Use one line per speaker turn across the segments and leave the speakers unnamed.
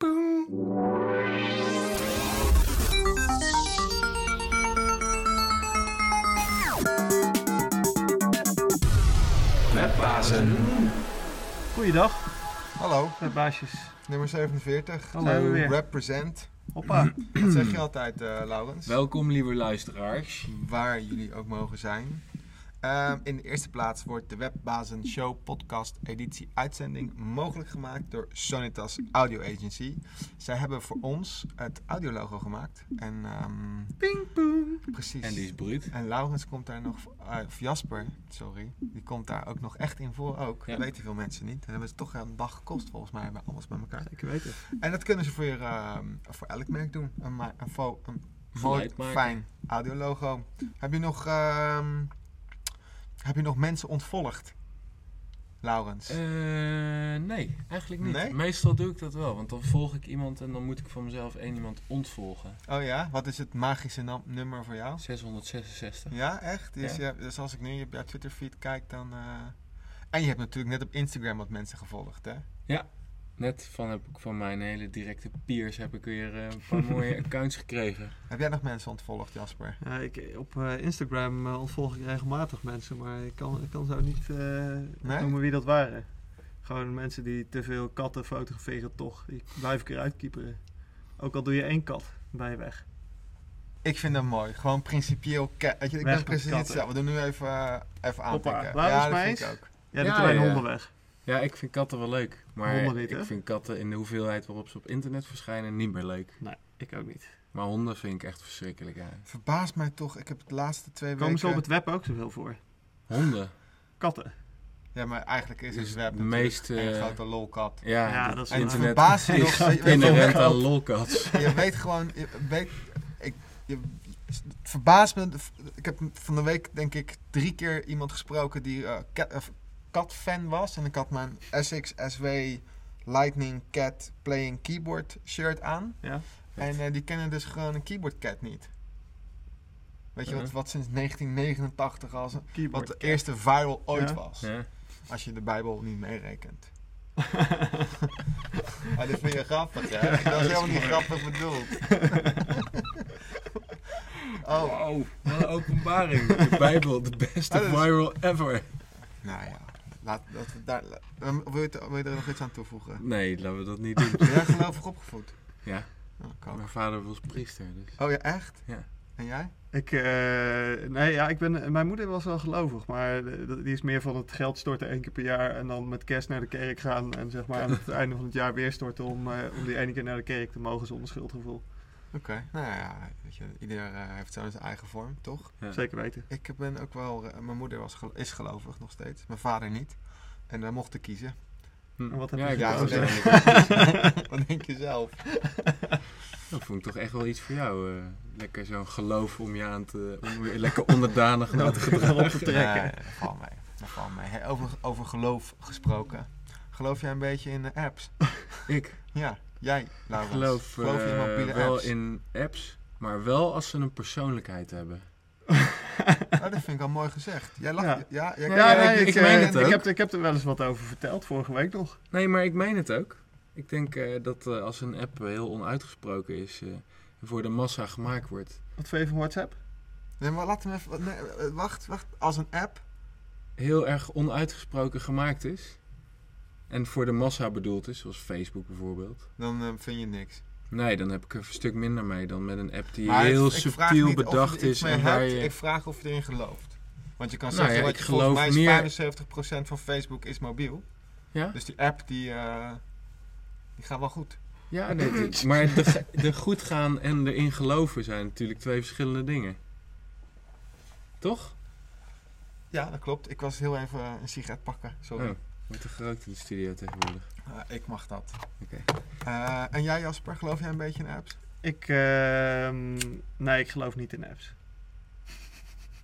Doei!
Met Pasen.
Goeiedag,
Hallo,
met baasjes.
nummer 47.
Hallo
New
weer.
Represent.
Hoppa.
Dat zeg je altijd, eh, Laurens.
Welkom, lieve luisteraars.
Waar jullie ook mogen zijn. Ehm, in de eerste plaats wordt de Webbazen Show podcast editie uitzending mogelijk gemaakt door Sonitas Audio Agency. Zij hebben voor ons het audiologo gemaakt. En, ehm
Ping pong.
precies.
En die is bruut.
En Laurens komt daar nog, eh, of Jasper, sorry, die komt daar ook nog echt in voor ook.
Ja.
Dat weten veel mensen niet. En hebben ze toch een dag gekost volgens mij, bij alles bij elkaar.
Zeker weten.
En dat kunnen ze voor, je, ehm, voor elk merk doen. Een, ma- een, fo- een mooi,
Geluid maken.
fijn audiologo. Heb je nog, ehm, heb je nog mensen ontvolgd, Laurens?
Eh, nee, eigenlijk niet.
Nee?
Meestal doe ik dat wel, want dan volg ik iemand en dan moet ik van mezelf één iemand ontvolgen.
Oh ja, wat is het magische nam- nummer voor jou?
666.
Ja, echt? Dus, je- dus als ik nu op jouw Twitterfeed kijk, dan... eh, En je hebt natuurlijk net op Instagram wat mensen gevolgd, hè?
Net van, heb ik van mijn hele directe peers heb ik weer eh, een paar mooie accounts gekregen.
Heb jij nog mensen ontvolgd, Jasper?
Ja, ik, op eh, Instagram eh, ontvolg ik regelmatig mensen, maar ik kan, ik kan zo niet eh, noemen wie dat waren. Gewoon mensen die te veel katten fotograferen, toch. Die blijf ik eruit kieperen. Ook al doe je één kat bij je weg.
Ik vind dat mooi. Gewoon principieel... ke- Weet je, ik ben
Weg met
precies...
katten.
Ja, we doen nu even, eh, even aanpikken.
Laurens
Ja, dat vind
Meijs?
ik ook.
Jij doet
Ja,
alleen
ja.
honden weg.
Ja, ik vind katten wel leuk, maar
Honden niet, hè?
ik vind katten in de hoeveelheid waarop ze op internet verschijnen niet meer leuk.
Nee, ik ook niet.
Maar honden vind ik echt verschrikkelijk, ja.
Verbaast mij toch, ik heb het de laatste twee
Komen ze
weken...
op het web ook zoveel voor?
Honden.
Katten.
Ja, maar eigenlijk is het
Dus
web
het
natuurlijk
meest, eh,
een grote lolkat.
Ja,
Ja,
dit
dat is
En het
waar.
internet
verbaast me nog...
is
steeds-
inherent aan
je,
lolcats.
je weet gewoon... Je weet, ik, je, het verbaast me... Ik heb van de week denk ik drie keer iemand gesproken die eh, cat- eh, kat-fan was. En ik had mijn Essex SW Lightning Cat Playing Keyboard shirt aan.
Ja.
En eh, die kennen dus gewoon een keyboard cat niet. Weet je wat,
Uh-huh.
wat sinds 1989 als een- wat
Keyboard.
de eerste viral ooit
Ja.
was.
Ja.
Als je de Bijbel niet meerekent. Ah, dit vind je grappig, hè? dat is helemaal niet grappig bedoeld. oh,
Wow, wat een openbaring. De Bijbel, de beste
Ah, dat is-
viral ever.
nou ja. Laat, dat we daar, la- ehm, wil, je, er- wil je er nog iets aan toevoegen?
Nee, laten we dat niet doen.
Ben jij gelovig opgevoed?
Ja,
Oh, ik ook.
mijn vader was priester, dus...
Oh ja, echt?
Ja.
En jij?
Ik, eh, nee, ja, ik ben, mijn moeder was wel gelovig, maar de- de- die is meer van het geld storten één keer per jaar en dan met kerst naar de kerk gaan en zeg maar aan het einde van het jaar weer storten om, eh, om die ene keer naar de kerk te mogen zonder schuldgevoel.
Oké. Nou ja, weet je, ieder eh, heeft zo zijn eigen vorm, toch?
Ja.
Zeker weten.
Ik ben ook wel... eh, mijn moeder was, gel- is gelovig nog steeds. Mijn vader niet. En wij mochten kiezen.
Hm.
En wat heb
ja,
je
ik
Ja,
wou
wat
gekozen?
denk,
zeggen,
je? Wat denk je zelf?
Dat vond ik toch echt wel iets voor jou. eh. lekker zo'n geloof om je aan te... Om je lekker onderdanig naar te gedragen.
Om te trekken.
Nee, dat valt mee. Dat valt mee. Hey, over, over geloof gesproken. Geloof jij een beetje in de apps?
Ik
Ja, jij, Laurens.
geloof,
je in
eh,
mobiele
wel
apps?
in apps, maar wel als ze een persoonlijkheid hebben.
Oh, dat vind ik al mooi gezegd. Jij lacht.
Ja.
Ja, jij-
Ja,
jij-
nee,
jij-
ik- ik
jij-
meen
eh,
het
ik
ook.
heb, ik heb er wel eens wat over verteld, vorige week nog.
Nee, maar ik meen het ook. Ik denk eh, dat eh, als een app heel onuitgesproken is... eh, en voor de massa gemaakt wordt...
Wat vind je van WhatsApp?
Nee, maar laat hem even... Nee, eh, wacht, wacht. Als een app?
heel erg onuitgesproken gemaakt is. En voor de massa bedoeld is, zoals Facebook bijvoorbeeld.
Dan eh, vind je niks.
Nee, dan heb ik er een stuk minder mee dan met een app die
het-
heel
ik vraag
subtiel
niet of je
bedacht
er iets
is.
mee
En waar
hebt.
je...
Ik vraag of je erin gelooft. Want je kan
Nou
zeggen,
ja,
wat
ik
je, volgens
geloof
mij is
meer-
75% van Facebook is mobiel.
Ja,
Dus die app, die, eh, die gaat wel goed.
ja nee, de- maar de, ge- de goed gaan en erin geloven zijn natuurlijk twee verschillende dingen. Toch?
Ja, dat klopt. Ik was heel even eh, een sigaret pakken. Sorry.
Oh, wordt er gerookt in de studio tegenwoordig.
Ah, ik mag dat.
Oké.
Eh, en jij Jasper, geloof jij een beetje in apps?
Ik, ehm, nee, ik geloof niet in apps.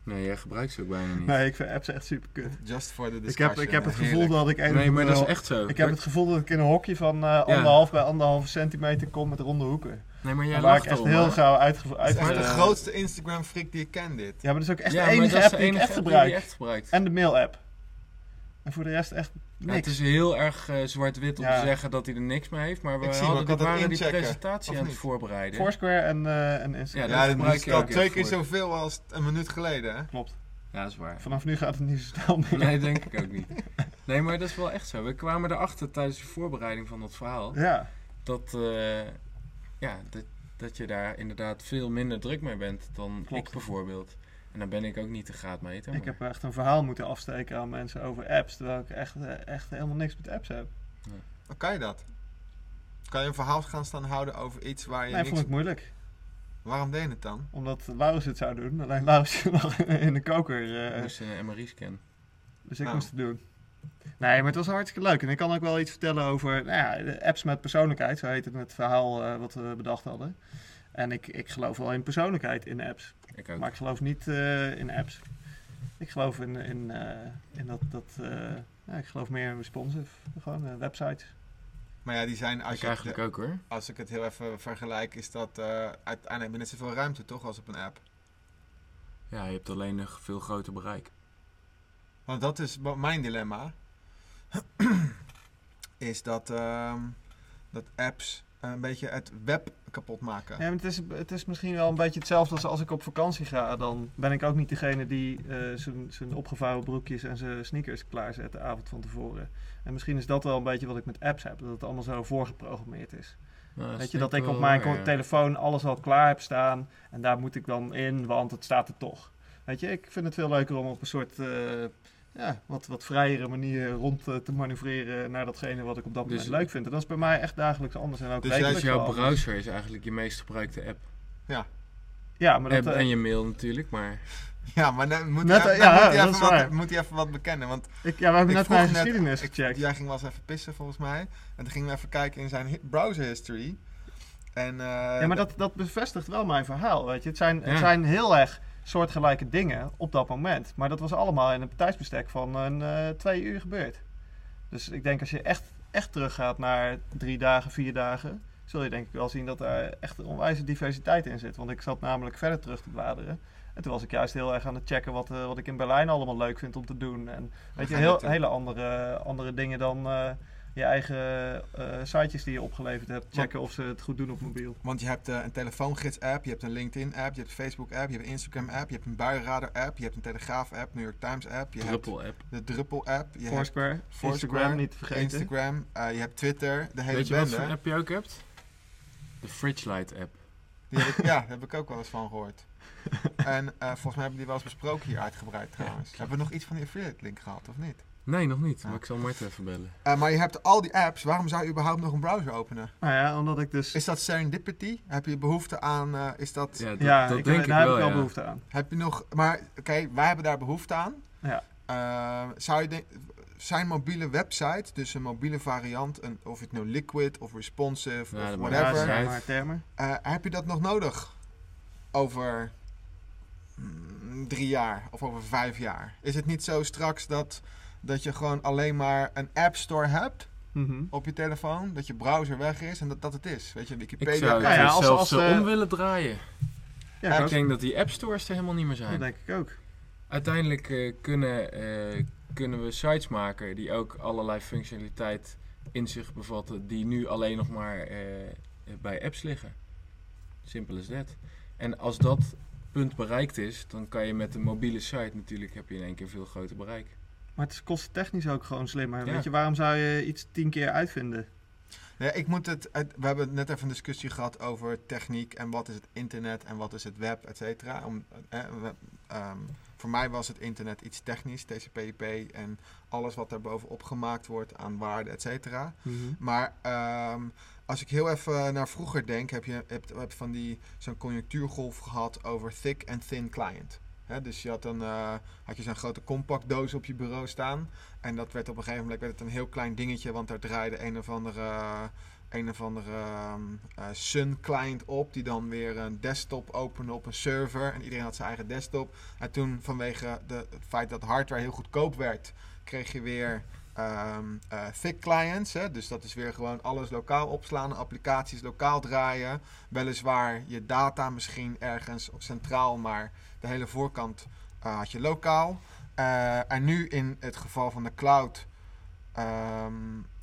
Nee, jij gebruikt ze ook bijna niet. Nee,
Nee, ik vind apps echt super kut.
Just for the
Ik heb,
discussion.
ik heb het gevoel
Heerlijk.
dat ik een
maar dat is
wel-
echt zo.
Ik heb het gevoel dat ik in een hokje van eh, anderhalf bij anderhalve centimeter kom met ronde hoeken.
Nee, maar jij
waar ik
lacht
echt
erom.
heel
hè?
gauw uitgevoerd.
Het is echt
Eh,
de grootste Instagram freak die ik ken dit.
Ja, maar dat is ook echt
Ja,
de
maar
enige
dat is
app die ik echt
app die
gebruik.
je echt gebruikt.
En de mail app. En voor de rest echt
Ja, het
niks.
is heel erg eh, zwart-wit om
Ja,
te zeggen dat hij er niks mee heeft. Maar we
ik zie hem
hadden
ook
die,
altijd
waren die
inchecken,
presentatie
of
aan het
niet?
voorbereiden.
Foursquare en, eh, en Instagram.
Ja,
Ja,
dat
dat
gebruik
is
je ook
dat
echt
twee keer
voor.
zoveel als een minuut geleden. Hè?
Klopt.
Ja, dat is waar.
Vanaf nu gaat het niet zo snel meer.
Nee, denk ik ook niet. Nee, maar dat is wel echt zo. We kwamen erachter tijdens de voorbereiding van dat verhaal.
Ja,
Dat, eh, ja, dat, dat je daar inderdaad veel minder druk mee bent dan
Klopt.
ik bijvoorbeeld. En dan ben ik ook niet de graadmeter.
ik
maar-
heb echt een verhaal moeten afsteken aan mensen over apps, terwijl ik echt, eh, echt helemaal niks met apps heb.
Dan kan je dat. Kan je een verhaal gaan staan houden over iets waar je
Nee,
niks...
vond ik moeilijk.
Waarom deed je het dan?
Omdat Laurens het zou doen. Alleen Laurens zit nog in de koker.
Ik
eh,
moest een MRI-scan.
Dus ik
Oh.
moest het doen. Nee, maar het was hartstikke leuk. En ik kan ook wel iets vertellen over nou ja, de apps met persoonlijkheid. Zo heet het met het verhaal eh, wat we bedacht hadden. En ik, ik geloof wel in persoonlijkheid in apps.
Ik ook.
Maar ik geloof niet eh, in apps. Ik geloof in, in, eh, in dat... dat eh, ja, ik geloof meer in responsive. Gewoon eh, websites.
Maar ja, die zijn, als,
ik
je,
eigenlijk ook hoor.
als ik het heel even vergelijk, is dat eh, uiteindelijk heb je net zoveel ruimte toch als op een app.
Ja, je hebt alleen een veel groter bereik.
Want dat is wa- mijn dilemma. is dat, ehm, dat apps een beetje het web kapot maken.
Ja, maar het, is, het is misschien wel een beetje hetzelfde als als ik op vakantie ga. Dan ben ik ook niet degene die eh, zijn zijn opgevouwen broekjes en zijn sneakers klaarzet de avond van tevoren. En misschien is dat wel een beetje wat ik met apps heb. Dat het allemaal zo voorgeprogrammeerd is.
Nou,
Weet je, dat ik op mijn ko- telefoon alles al klaar heb staan. En daar moet ik dan in, want het staat er toch. Weet je, ik vind het veel leuker om op een soort... eh, ja, wat, wat vrijere manier rond eh, te manoeuvreren naar datgene wat ik op dat
Dus-
moment leuk vind. En dat is bij mij echt dagelijks anders. En ook
Dus jij-
Dus
wekelijks wel
jouw
anders.
browser is eigenlijk je meest gebruikte app.
Ja, maar dat,
app
eh,
en je mail natuurlijk, maar...
Ja, maar dan moet,
Net,
hij,
eh,
dan
ja,
moet, hij
dat
even
is waar.
wat, moet hij even wat bekennen. Want
Ik, ja, we
Ik
hebben net
vroeg
mijn
net-
geschiedenis
ik-
gecheckt.
jij ging wel eens even pissen volgens mij. En toen gingen we even kijken in zijn hi- browser history. En, eh,
ja, maar dat, dat bevestigt wel mijn verhaal, weet je. Het zijn,
Ja.
het zijn heel erg soortgelijke dingen op dat moment. Maar dat was allemaal in een tijdsbestek van een, eh, twee uur gebeurd. Dus ik denk als je echt, echt teruggaat naar drie dagen, vier dagen... zul je denk ik wel zien dat daar echt een onwijze diversiteit in zit. Want ik zat namelijk verder terug te bladeren... En toen was ik juist heel erg aan het checken wat, eh, wat ik in Berlijn allemaal leuk vind om te doen. En weet je,
gaan
heel,
dit doen.
hele andere, andere dingen dan eh, je eigen eh, sitejes die je opgeleverd hebt. Checken of ze het goed doen op mobiel.
Want je hebt eh, een telefoongids-app, je hebt een LinkedIn-app, je hebt een Facebook-app, je hebt een Instagram-app, je hebt een buienradar-app, je hebt een Telegraaf-app, New York Times-app, je hebt
Druppel app.
de Druppel-app, je hebt
Foursquare, Instagram
Foursquare,
niet te vergeten.
Instagram, eh, je hebt Twitter, de hele
Weet je wat
bende.
voor app je ook hebt? De Fridge Light app.
Die heb ik, ja, daar heb ik ook wel eens van gehoord. en eh, volgens mij hebben we die wel eens besproken hier uitgebreid trouwens. hebben we nog iets van die affiliate link gehad of niet?
Nee, nog niet.
Ja.
Maar ik zal Marten even bellen.
Eh, maar je hebt al die apps, waarom zou je überhaupt nog een browser openen?
Nou ja, omdat ik dus...
Is dat serendipity? Heb je behoefte aan, eh, is dat...
Ja, dat,
ja,
dat
ik,
denk ik
daar heb
wel,
ik wel
ja.
behoefte aan.
Heb je nog, maar oké, wij hebben daar behoefte aan.
Ja.
Eh, zou je denk, zijn mobiele website, dus een mobiele variant, een, of het nou liquid of responsive
Ja,
of
dat maakt
Ja,
whatever,
dat
uit.
zijn maar termen.
eh, heb je dat nog nodig over mm, drie jaar of over vijf jaar? Is het niet zo straks dat, dat je gewoon alleen maar een app store hebt
Mhm.
op je telefoon, dat je browser weg is en dat dat het is? Weet je,
Ik
Wikipedia.
zou
Ja, ja,
het
als-
zelfs
als,
zo
eh,
om willen draaien.
Ja, ik
Ik
ook.
denk dat die app stores er helemaal niet meer
dat
zijn.
denk ik ook.
Uiteindelijk eh, kunnen, eh, kunnen we sites maken die ook allerlei functionaliteit in zich bevatten, die nu alleen nog maar eh, eh, bij apps liggen. Simpel is dat. En als dat punt bereikt is, dan kan je met een mobiele site natuurlijk heb je in één keer veel groter bereik.
Maar het is kosttechnisch ook gewoon slimmer.
Ja.
Weet je, waarom zou je iets tien keer uitvinden?
Ja, ik moet het, het- we hebben net even een discussie gehad over techniek en wat is het internet en wat is het web, et cetera. Om, eh, we- ehm, voor mij was het internet iets technisch, TCP/IP en alles wat daar bovenop gemaakt wordt aan waarde, et cetera.
Mhm.
Maar ehm, als ik heel even naar vroeger denk, heb je hebt, heb van die zo'n conjunctuurgolf gehad over thick en thin client. Hè, dus je had, dan, eh, had je zo'n grote compactdoos op je bureau staan. En dat werd op een gegeven moment werd het een heel klein dingetje, want daar draaide een of andere, een of andere ehm, eh, Sun client op, die dan weer een desktop opende op een server. En iedereen had zijn eigen desktop. En toen vanwege de, het feit dat hardware heel goedkoop werd, kreeg je weer ehm, eh, thick clients. Hè? Dus dat is weer gewoon alles lokaal opslaan, applicaties lokaal draaien. Weliswaar je data misschien ergens centraal, maar de hele voorkant eh, had je lokaal. Eh, en nu in het geval van de cloud Ehm,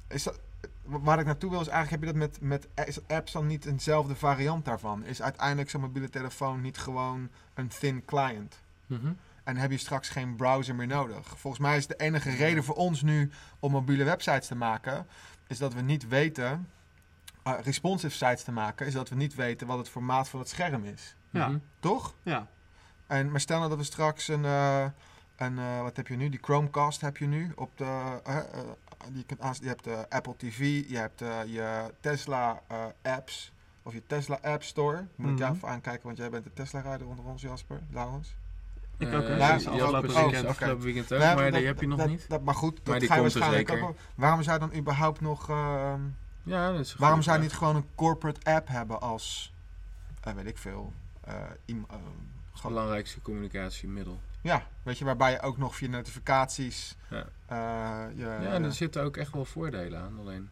is dat, waar ik naartoe wil is eigenlijk heb je dat met, met is apps dan niet eenzelfde variant daarvan? Is uiteindelijk zo'n mobiele telefoon niet gewoon een thin client?
Mhm.
En heb je straks geen browser meer nodig? Volgens mij is de enige reden voor ons nu om mobiele websites te maken, is dat we niet weten, eh, responsive sites te maken, is dat we niet weten wat het formaat van het scherm is.
Ja.
Mhm.
Toch?
Ja,
En, maar stel nou dat we straks een, eh, een eh, wat heb je nu? Die Chromecast heb je nu op de, eh, eh, die je, kunt aans- je hebt de Apple TV, je hebt eh, je Tesla eh, apps of je Tesla App Store. Moet ik jou
Mhm.
even aankijken, want jij bent de Tesla-rijder onder ons, Jasper, Laurens.
Ik ook, hè?
Ja,
Eh, die
afgelopen
afgelopen
weekend.
weekend.
Oh,
Afgelopen weekend ook,
Nee,
maar
dat-
die heb je nog
dat-
niet.
dat- maar goed, dat
Maar die
ga je
komt er
waarschijnlijk ook
zeker.
wel- Waarom zou dan überhaupt nog, ehm,
Ja, dat is
waarom
een goede
zou je
vraag.
niet gewoon een corporate app hebben als, eh, weet ik veel, eh, iem- ehm, gewoon-
belangrijkste communicatiemiddel.
ja, weet je, waarbij je ook nog via notificaties
Ja.
eh, je,
ja, dus- en er zitten ook echt wel voordelen aan. Alleen,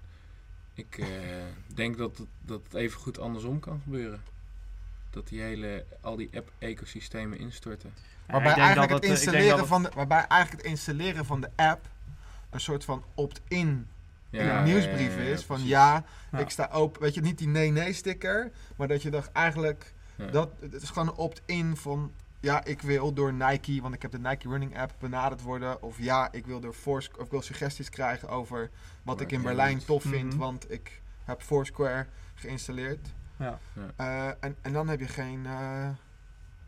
ik eh, denk dat het, dat het even goed andersom kan gebeuren. Dat die hele, al die app-ecosystemen instorten.
Waarbij
ik denk
eigenlijk, het
dat het, eh, ik denk dat
installeren
het-
van de, waarbij eigenlijk het installeren van de app een soort van opt-in in een nieuwsbrief is. van
precies.
ja,
Ja.
ik sta open. Weet je, niet die nee-nee-sticker, maar dat je dacht eigenlijk...
Ja.
Dat, het is gewoon een opt-in van... Ja, ik wil door Nike, want ik heb de Nike Running App benaderd worden. Of ja, ik wil door Foursquare, of ik wil suggesties krijgen over wat
Maar
ik in
helemaal
Berlijn
niets.
tof vind,
Mhm.
want ik heb Foursquare geïnstalleerd.
Ja.
Ja.
Eh, en, en dan heb je geen, eh,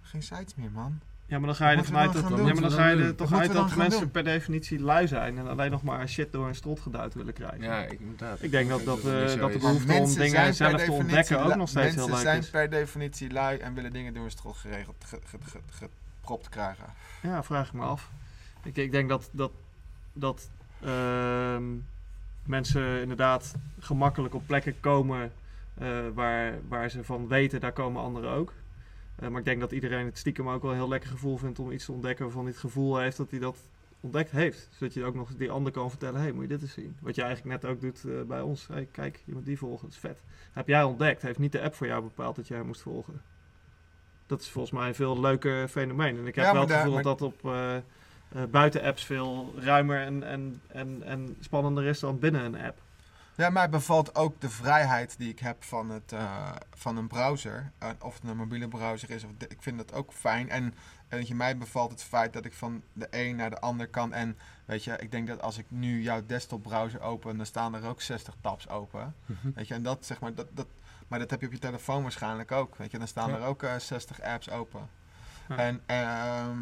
geen sites meer, man.
Ja, maar dan ga je
Wat
er
moeten we
vanuit
dan
dat,
gaan
ja, maar
doen?
dan
Wat
ga je
moeten
er
we
toch
dan
uit
gaan
dat
doen?
mensen per definitie lui zijn en alleen nog maar shit door een strot geduwd willen krijgen.
Ja, ik- inderdaad.
Ik denk dat, dat,
het niet
eh,
zo
dat de
is.
behoefte om
Mensen
dingen
zijn
zelf
per
te
definitie
ontdekken ook
lui-
nog steeds heel
Mensen
leuk
zijn
is.
per definitie lui en willen dingen door een strot geregeld, ge- ge- ge- gepropt krijgen.
Ja, vraag ik me af. Ik, ik denk dat, dat, dat ehm, mensen inderdaad gemakkelijk op plekken komen eh, waar, waar ze van weten, daar komen anderen ook. Eh, maar ik denk dat iedereen het stiekem ook wel een heel lekker gevoel vindt om iets te ontdekken waarvan hij het gevoel heeft dat hij dat ontdekt heeft. Zodat je ook nog die ander kan vertellen, hé, hey, moet je dit eens zien. Wat je eigenlijk net ook doet eh, bij ons. Hey, kijk, je moet die volgen, dat is vet. Heb jij ontdekt, heeft niet de app voor jou bepaald dat jij hem moest volgen. Dat is volgens mij een veel leuker fenomeen. En ik heb
Ja,
wel
maar
het
daar-
gevoel
maar-
dat dat op eh, eh, buiten apps veel ruimer en, en, en, en spannender is dan binnen een app.
Ja, mij bevalt ook de vrijheid die ik heb van, het, eh, van een browser. Eh, of het een mobiele browser is. Of de- ik vind dat ook fijn. En, en weet je, mij bevalt het feit dat ik van de een naar de ander kan. En weet je, ik denk dat als ik nu jouw desktop browser open, dan staan er ook 60 tabs open.
Mhm.
Weet je, en dat zeg maar, dat, dat, maar dat heb je op je telefoon waarschijnlijk ook. Weet je, dan staan
Ja.
er ook eh, 60 apps open.
Ja.
En ehm,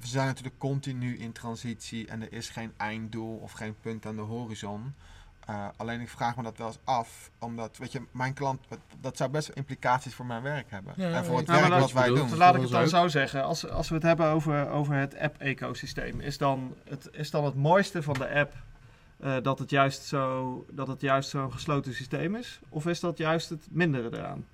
we zijn natuurlijk continu in transitie en er is geen einddoel of geen punt aan de horizon. Eh, alleen ik vraag me dat wel eens af, omdat, weet je, mijn klant, dat zou best wel implicaties voor mijn werk hebben.
Ja,
en voor het
ja, maar
werk
dat-
wat wij
bedoel,
doen.
Dus
dat is
Ja,
laat ik
voor
het dan
ons
zo zeggen. Als, als we het hebben over, over het app-ecosysteem, is dan het, is dan het mooiste van de app eh, dat het juist zo- dat het juist zo'n gesloten systeem is? Of is dat juist het mindere eraan?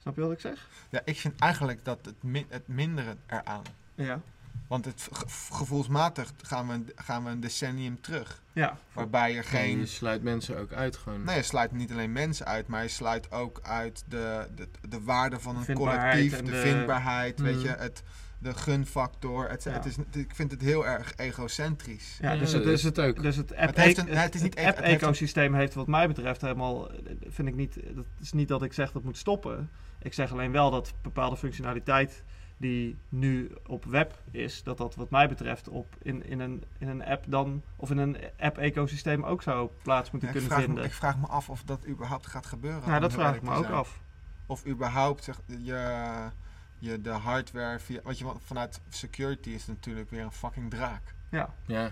Snap je wat ik zeg?
ik vind eigenlijk dat het, min- het mindere eraan.
Ja.
Want het, ge- gevoelsmatig gaan we, een- gaan we een decennium terug.
Ja,
Waarbij er
En
geen
Je sluit mensen ook uit gewoon.
Nee, je sluit niet alleen mensen uit, maar je sluit ook uit de, de, de waarde van een
Vindbaarheid
collectief,
en
de,
de-
vindbaarheid, weet
Mm.
je, het, de gunfactor. Het,
Ja.
het is, het- ik vind het heel erg egocentrisch.
ja dus,
dat
het, dus,
is het ook.
dus het app
Het heeft een- het is niet even- het heeft een-
app-ecosysteem heeft, wat mij betreft helemaal, eh, vind ik niet, dat is niet dat ik zeg dat moet stoppen. Ik zeg alleen wel dat bepaalde functionaliteit die nu op web is, dat dat wat mij betreft op, in, in, een, in een app dan, of in een app-ecosysteem ook zou plaats moeten
Ik
kunnen
vraag, me,
vinden.
ik vraag me af of dat überhaupt gaat gebeuren.
ja,
om
dat
heel
vraag ik
eerlijk
me
te
ook
zijn.
af.
Of überhaupt zeg, je, je de hardware via. Weet je, want vanuit security is het natuurlijk weer een fucking draak.
Ja,
Ja,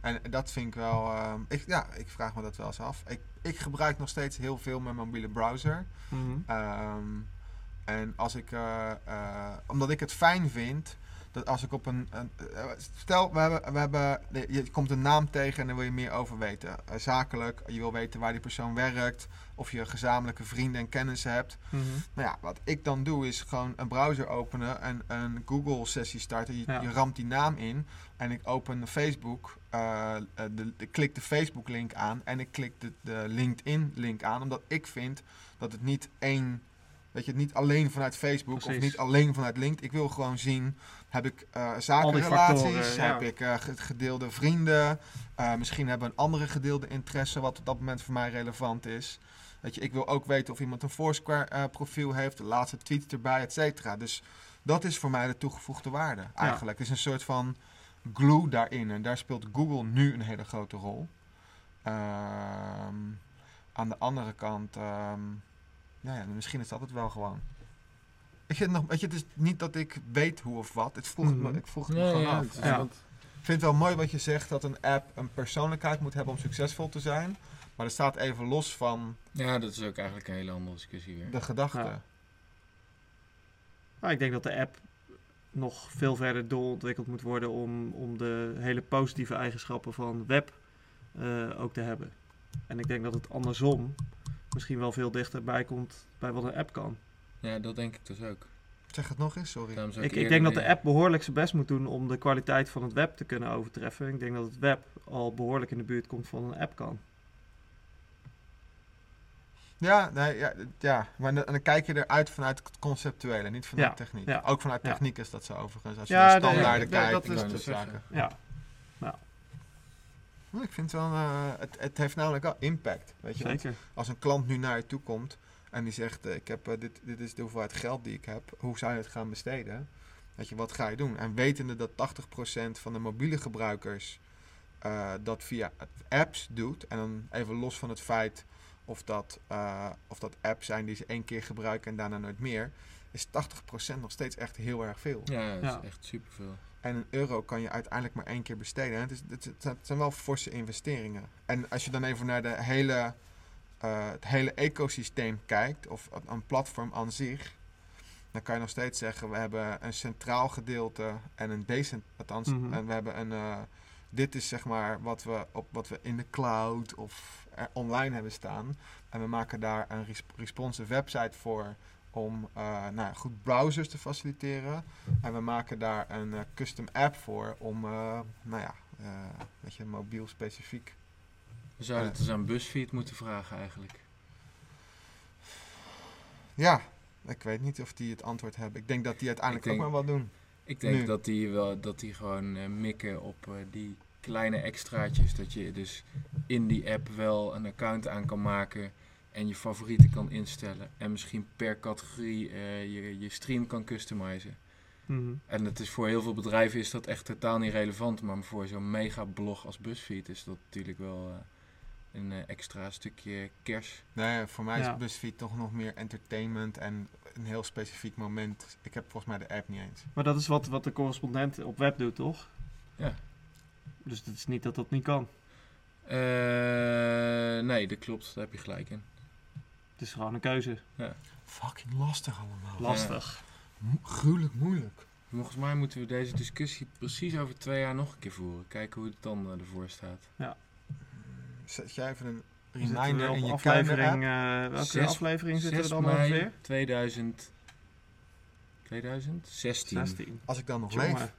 En dat vind ik wel. ehm, ik, ja, ik vraag me dat wel eens af. Ik, ik gebruik nog steeds heel veel mijn mobiele browser.
Mhm.
Ehm, en als ik, eh, eh, omdat ik het fijn vind dat als ik op een. een- eh, stel, we hebben, we hebben, je komt een naam tegen en daar wil je meer over weten. Eh, zakelijk, je wil weten waar die persoon werkt, of je gezamenlijke vrienden en kennissen hebt.
Mhm.
Nou ja, wat ik dan doe is gewoon een browser openen en een Google-sessie starten. Je,
Ja.
je ramt die naam in en ik open Facebook, eh, eh, de, de- klik de Facebook-link aan en ik klik de, de LinkedIn-link aan, omdat ik vind dat het niet één Weet je, niet alleen vanuit Facebook of
Precies.
niet alleen vanuit LinkedIn. Ik wil gewoon zien, heb ik eh zakenrelaties,
factoren, ja.
heb ik eh, ge- gedeelde vrienden. eh, misschien hebben we een andere gedeelde interesse wat op dat moment voor mij relevant is. Weet je, ik wil ook weten of iemand een Foursquare eh, profiel heeft, de laatste tweet erbij, et cetera. Dus dat is voor mij de toegevoegde waarde eigenlijk. Het is een soort van glue daarin. En daar speelt Google nu een hele grote rol. Ehm, aan de andere kant, ehm, nou ja, misschien is dat het wel gewoon. Ik zit nog, weet je, het is niet dat ik weet hoe of wat. Het vroeg,
Mhm.
me, ik vroeg het me
Nee,
gewoon
ja,
af.
het is
Ja.
wat-
Ik vind het wel mooi wat je zegt dat een app een persoonlijkheid moet hebben om succesvol te zijn. Maar dat staat even los van
ja, dat is ook eigenlijk een hele andere discussie weer.
de gedachte.
Ja. Maar Ah, ik denk dat de app nog veel verder doorontwikkeld moet worden om, om de hele positieve eigenschappen van web eh, ook te hebben. En ik denk dat het andersom misschien wel veel dichterbij komt bij wat een app kan.
Ja, dat denk ik dus ook.
Zeg het nog eens, sorry.
Daarom zou
Ik, ik
eerder
denk dat de
weer-
app behoorlijk zijn best moet doen om de kwaliteit van het web te kunnen overtreffen. Ik denk dat het web al behoorlijk in de buurt komt van een app kan.
Ja, nee, ja, d- ja. maar dan, dan kijk je eruit vanuit het conceptuele, niet vanuit
Ja,
techniek.
ja.
Ook vanuit
Ja.
techniek is dat zo overigens. Als je
Ja,
naar
nee,
standaarden
ja,
kijkt
dat
en
is
dat
te
soort
zeggen.
zaken.
Ja,
Maar Ik vind wel, eh, het, het heeft namelijk wel impact. Weet je? want
zeker.
Als een klant nu naar je toe komt en die zegt, eh, ik heb, eh, dit, dit is de hoeveelheid geld die ik heb, hoe zou je het gaan besteden? Weet je, wat ga je doen? En wetende dat 80% van de mobiele gebruikers eh, dat via apps doet, en dan even los van het feit of dat, eh, of dat apps zijn die ze één keer gebruiken en daarna nooit meer, is 80% nog steeds echt heel erg veel.
Ja, dat
Ja.
is echt superveel.
En een euro kan je uiteindelijk maar één keer besteden. Het, is, het, het zijn wel forse investeringen. En als je dan even naar de hele, eh, het hele ecosysteem kijkt, of een- een platform aan zich, dan kan je nog steeds zeggen: we hebben een centraal gedeelte en een decentraal. Althans,
Mhm.
en we hebben een. eh, dit is zeg maar wat we, op, wat we in de cloud of eh, online hebben staan. En we maken daar een res- responsive website voor om eh, nou, ja, goed browsers te faciliteren. En we maken daar een eh, custom app voor om, eh, nou ja, eh, weet je, mobiel specifiek.
We zouden
Ja.
het eens aan BuzzFeed moeten vragen eigenlijk.
Ja, ik weet niet of die het antwoord hebben. Ik denk dat die uiteindelijk
Ik
ook
denk-
maar wat doen.
Ik denk
Nu.
dat die, wel, dat die gewoon eh, mikken op eh, die kleine extraatjes. Dat je dus in die app wel een account aan kan maken en je favorieten kan instellen. En misschien per categorie eh, je, je stream kan customizen.
Mhm.
En het is voor heel veel bedrijven is dat echt totaal niet relevant. Maar voor zo'n mega blog als BuzzFeed is dat natuurlijk wel eh, een eh, extra stukje kers.
Nee, voor mij
Ja.
is BuzzFeed toch nog meer entertainment en een heel specifiek moment. Ik heb volgens mij de app niet eens.
Maar dat is wat, wat de correspondent op web doet, toch?
Ja.
Dus het is niet dat dat niet kan.
Eh, nee, dat klopt. Daar heb je gelijk in.
Het is gewoon een keuze.
Fucking lastig allemaal.
Lastig.
Mo- gruwelijk moeilijk.
Volgens mij moeten we deze discussie precies over twee jaar nog een keer voeren. Kijken hoe het dan eh, ervoor staat.
Zet jij even een
We zitten weer
reminder
op
in je camera.
aflevering, eh, welke
Zes-
aflevering zitten we
6
dan
mei
ongeveer?
2000, 2016.
16.
Als ik dan nog
Jongen,
leef.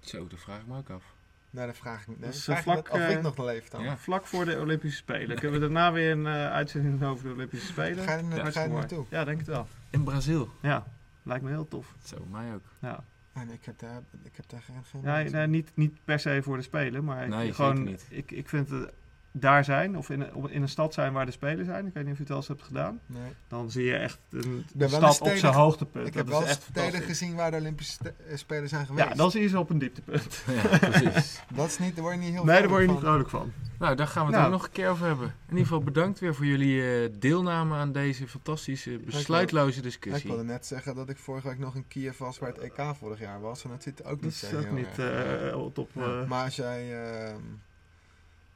Zo, dat vraag ik me ook af.
Nee, dat vraag ik niet. Nee,
Dat is,
vraag
eh,
je dat
vlak,
of ik
eh,
nog leef dan.
Ja.
Vlak voor de Olympische Spelen. Kunnen we daarna weer een eh, uitzending doen over de Olympische Spelen?
Ga je er na- ga
Ja,
je er
Hartstikke mooi.
naartoe?
Ja, denk het wel.
In Brazil.
Ja, lijkt me heel tof.
Zo, mij ook.
Ja,
En ik heb daar, ik heb daar geen... geen
ja nee, niet, niet per se voor de Spelen, maar ik,
Nee, zeker
gewoon,
niet.
Ik, ik vind het daar zijn, of in, een- op- in een stad zijn waar de Spelen zijn, ik weet niet of je het wel eens hebt gedaan,
Nee.
dan zie je echt een
ben wel
stad
een
op
stedelijk-
zijn hoogtepunt.
Ik heb
dat
wel
is echt
steden
fantastisch.
gezien waar de Olympische ste- eh, Spelen zijn geweest.
Ja, dan zie je ze op een dieptepunt.
Ja, precies.
Dat is niet, daar word je niet heel
Nee, daar
vrolijk
word je
van.
niet vrolijk van.
nou, daar gaan we het
Nou.
ook nog een keer over hebben. In ieder geval bedankt weer voor jullie eh, deelname aan deze fantastische, besluitloze
Ja, Ik
discussie.
wilde net zeggen dat ik vorige week nog een Kiev was waar het EK vorig jaar was. En dat zit er ook
Dat
niet zo
is ook
heel
niet
erg.
eh top.
Ja.
eh,
Maar als jij ehm,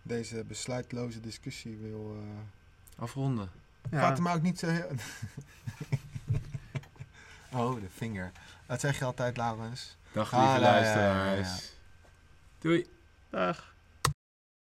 deze besluitloze discussie wil... eh
Afronden.
ja.
Gaat hem ook niet zo heel... oh, de vinger. Dat zeg je altijd, Laurens.
Dag
Ah,
lieve
ja, ja, ja, ja.
luisteraars. Doei.
Dag.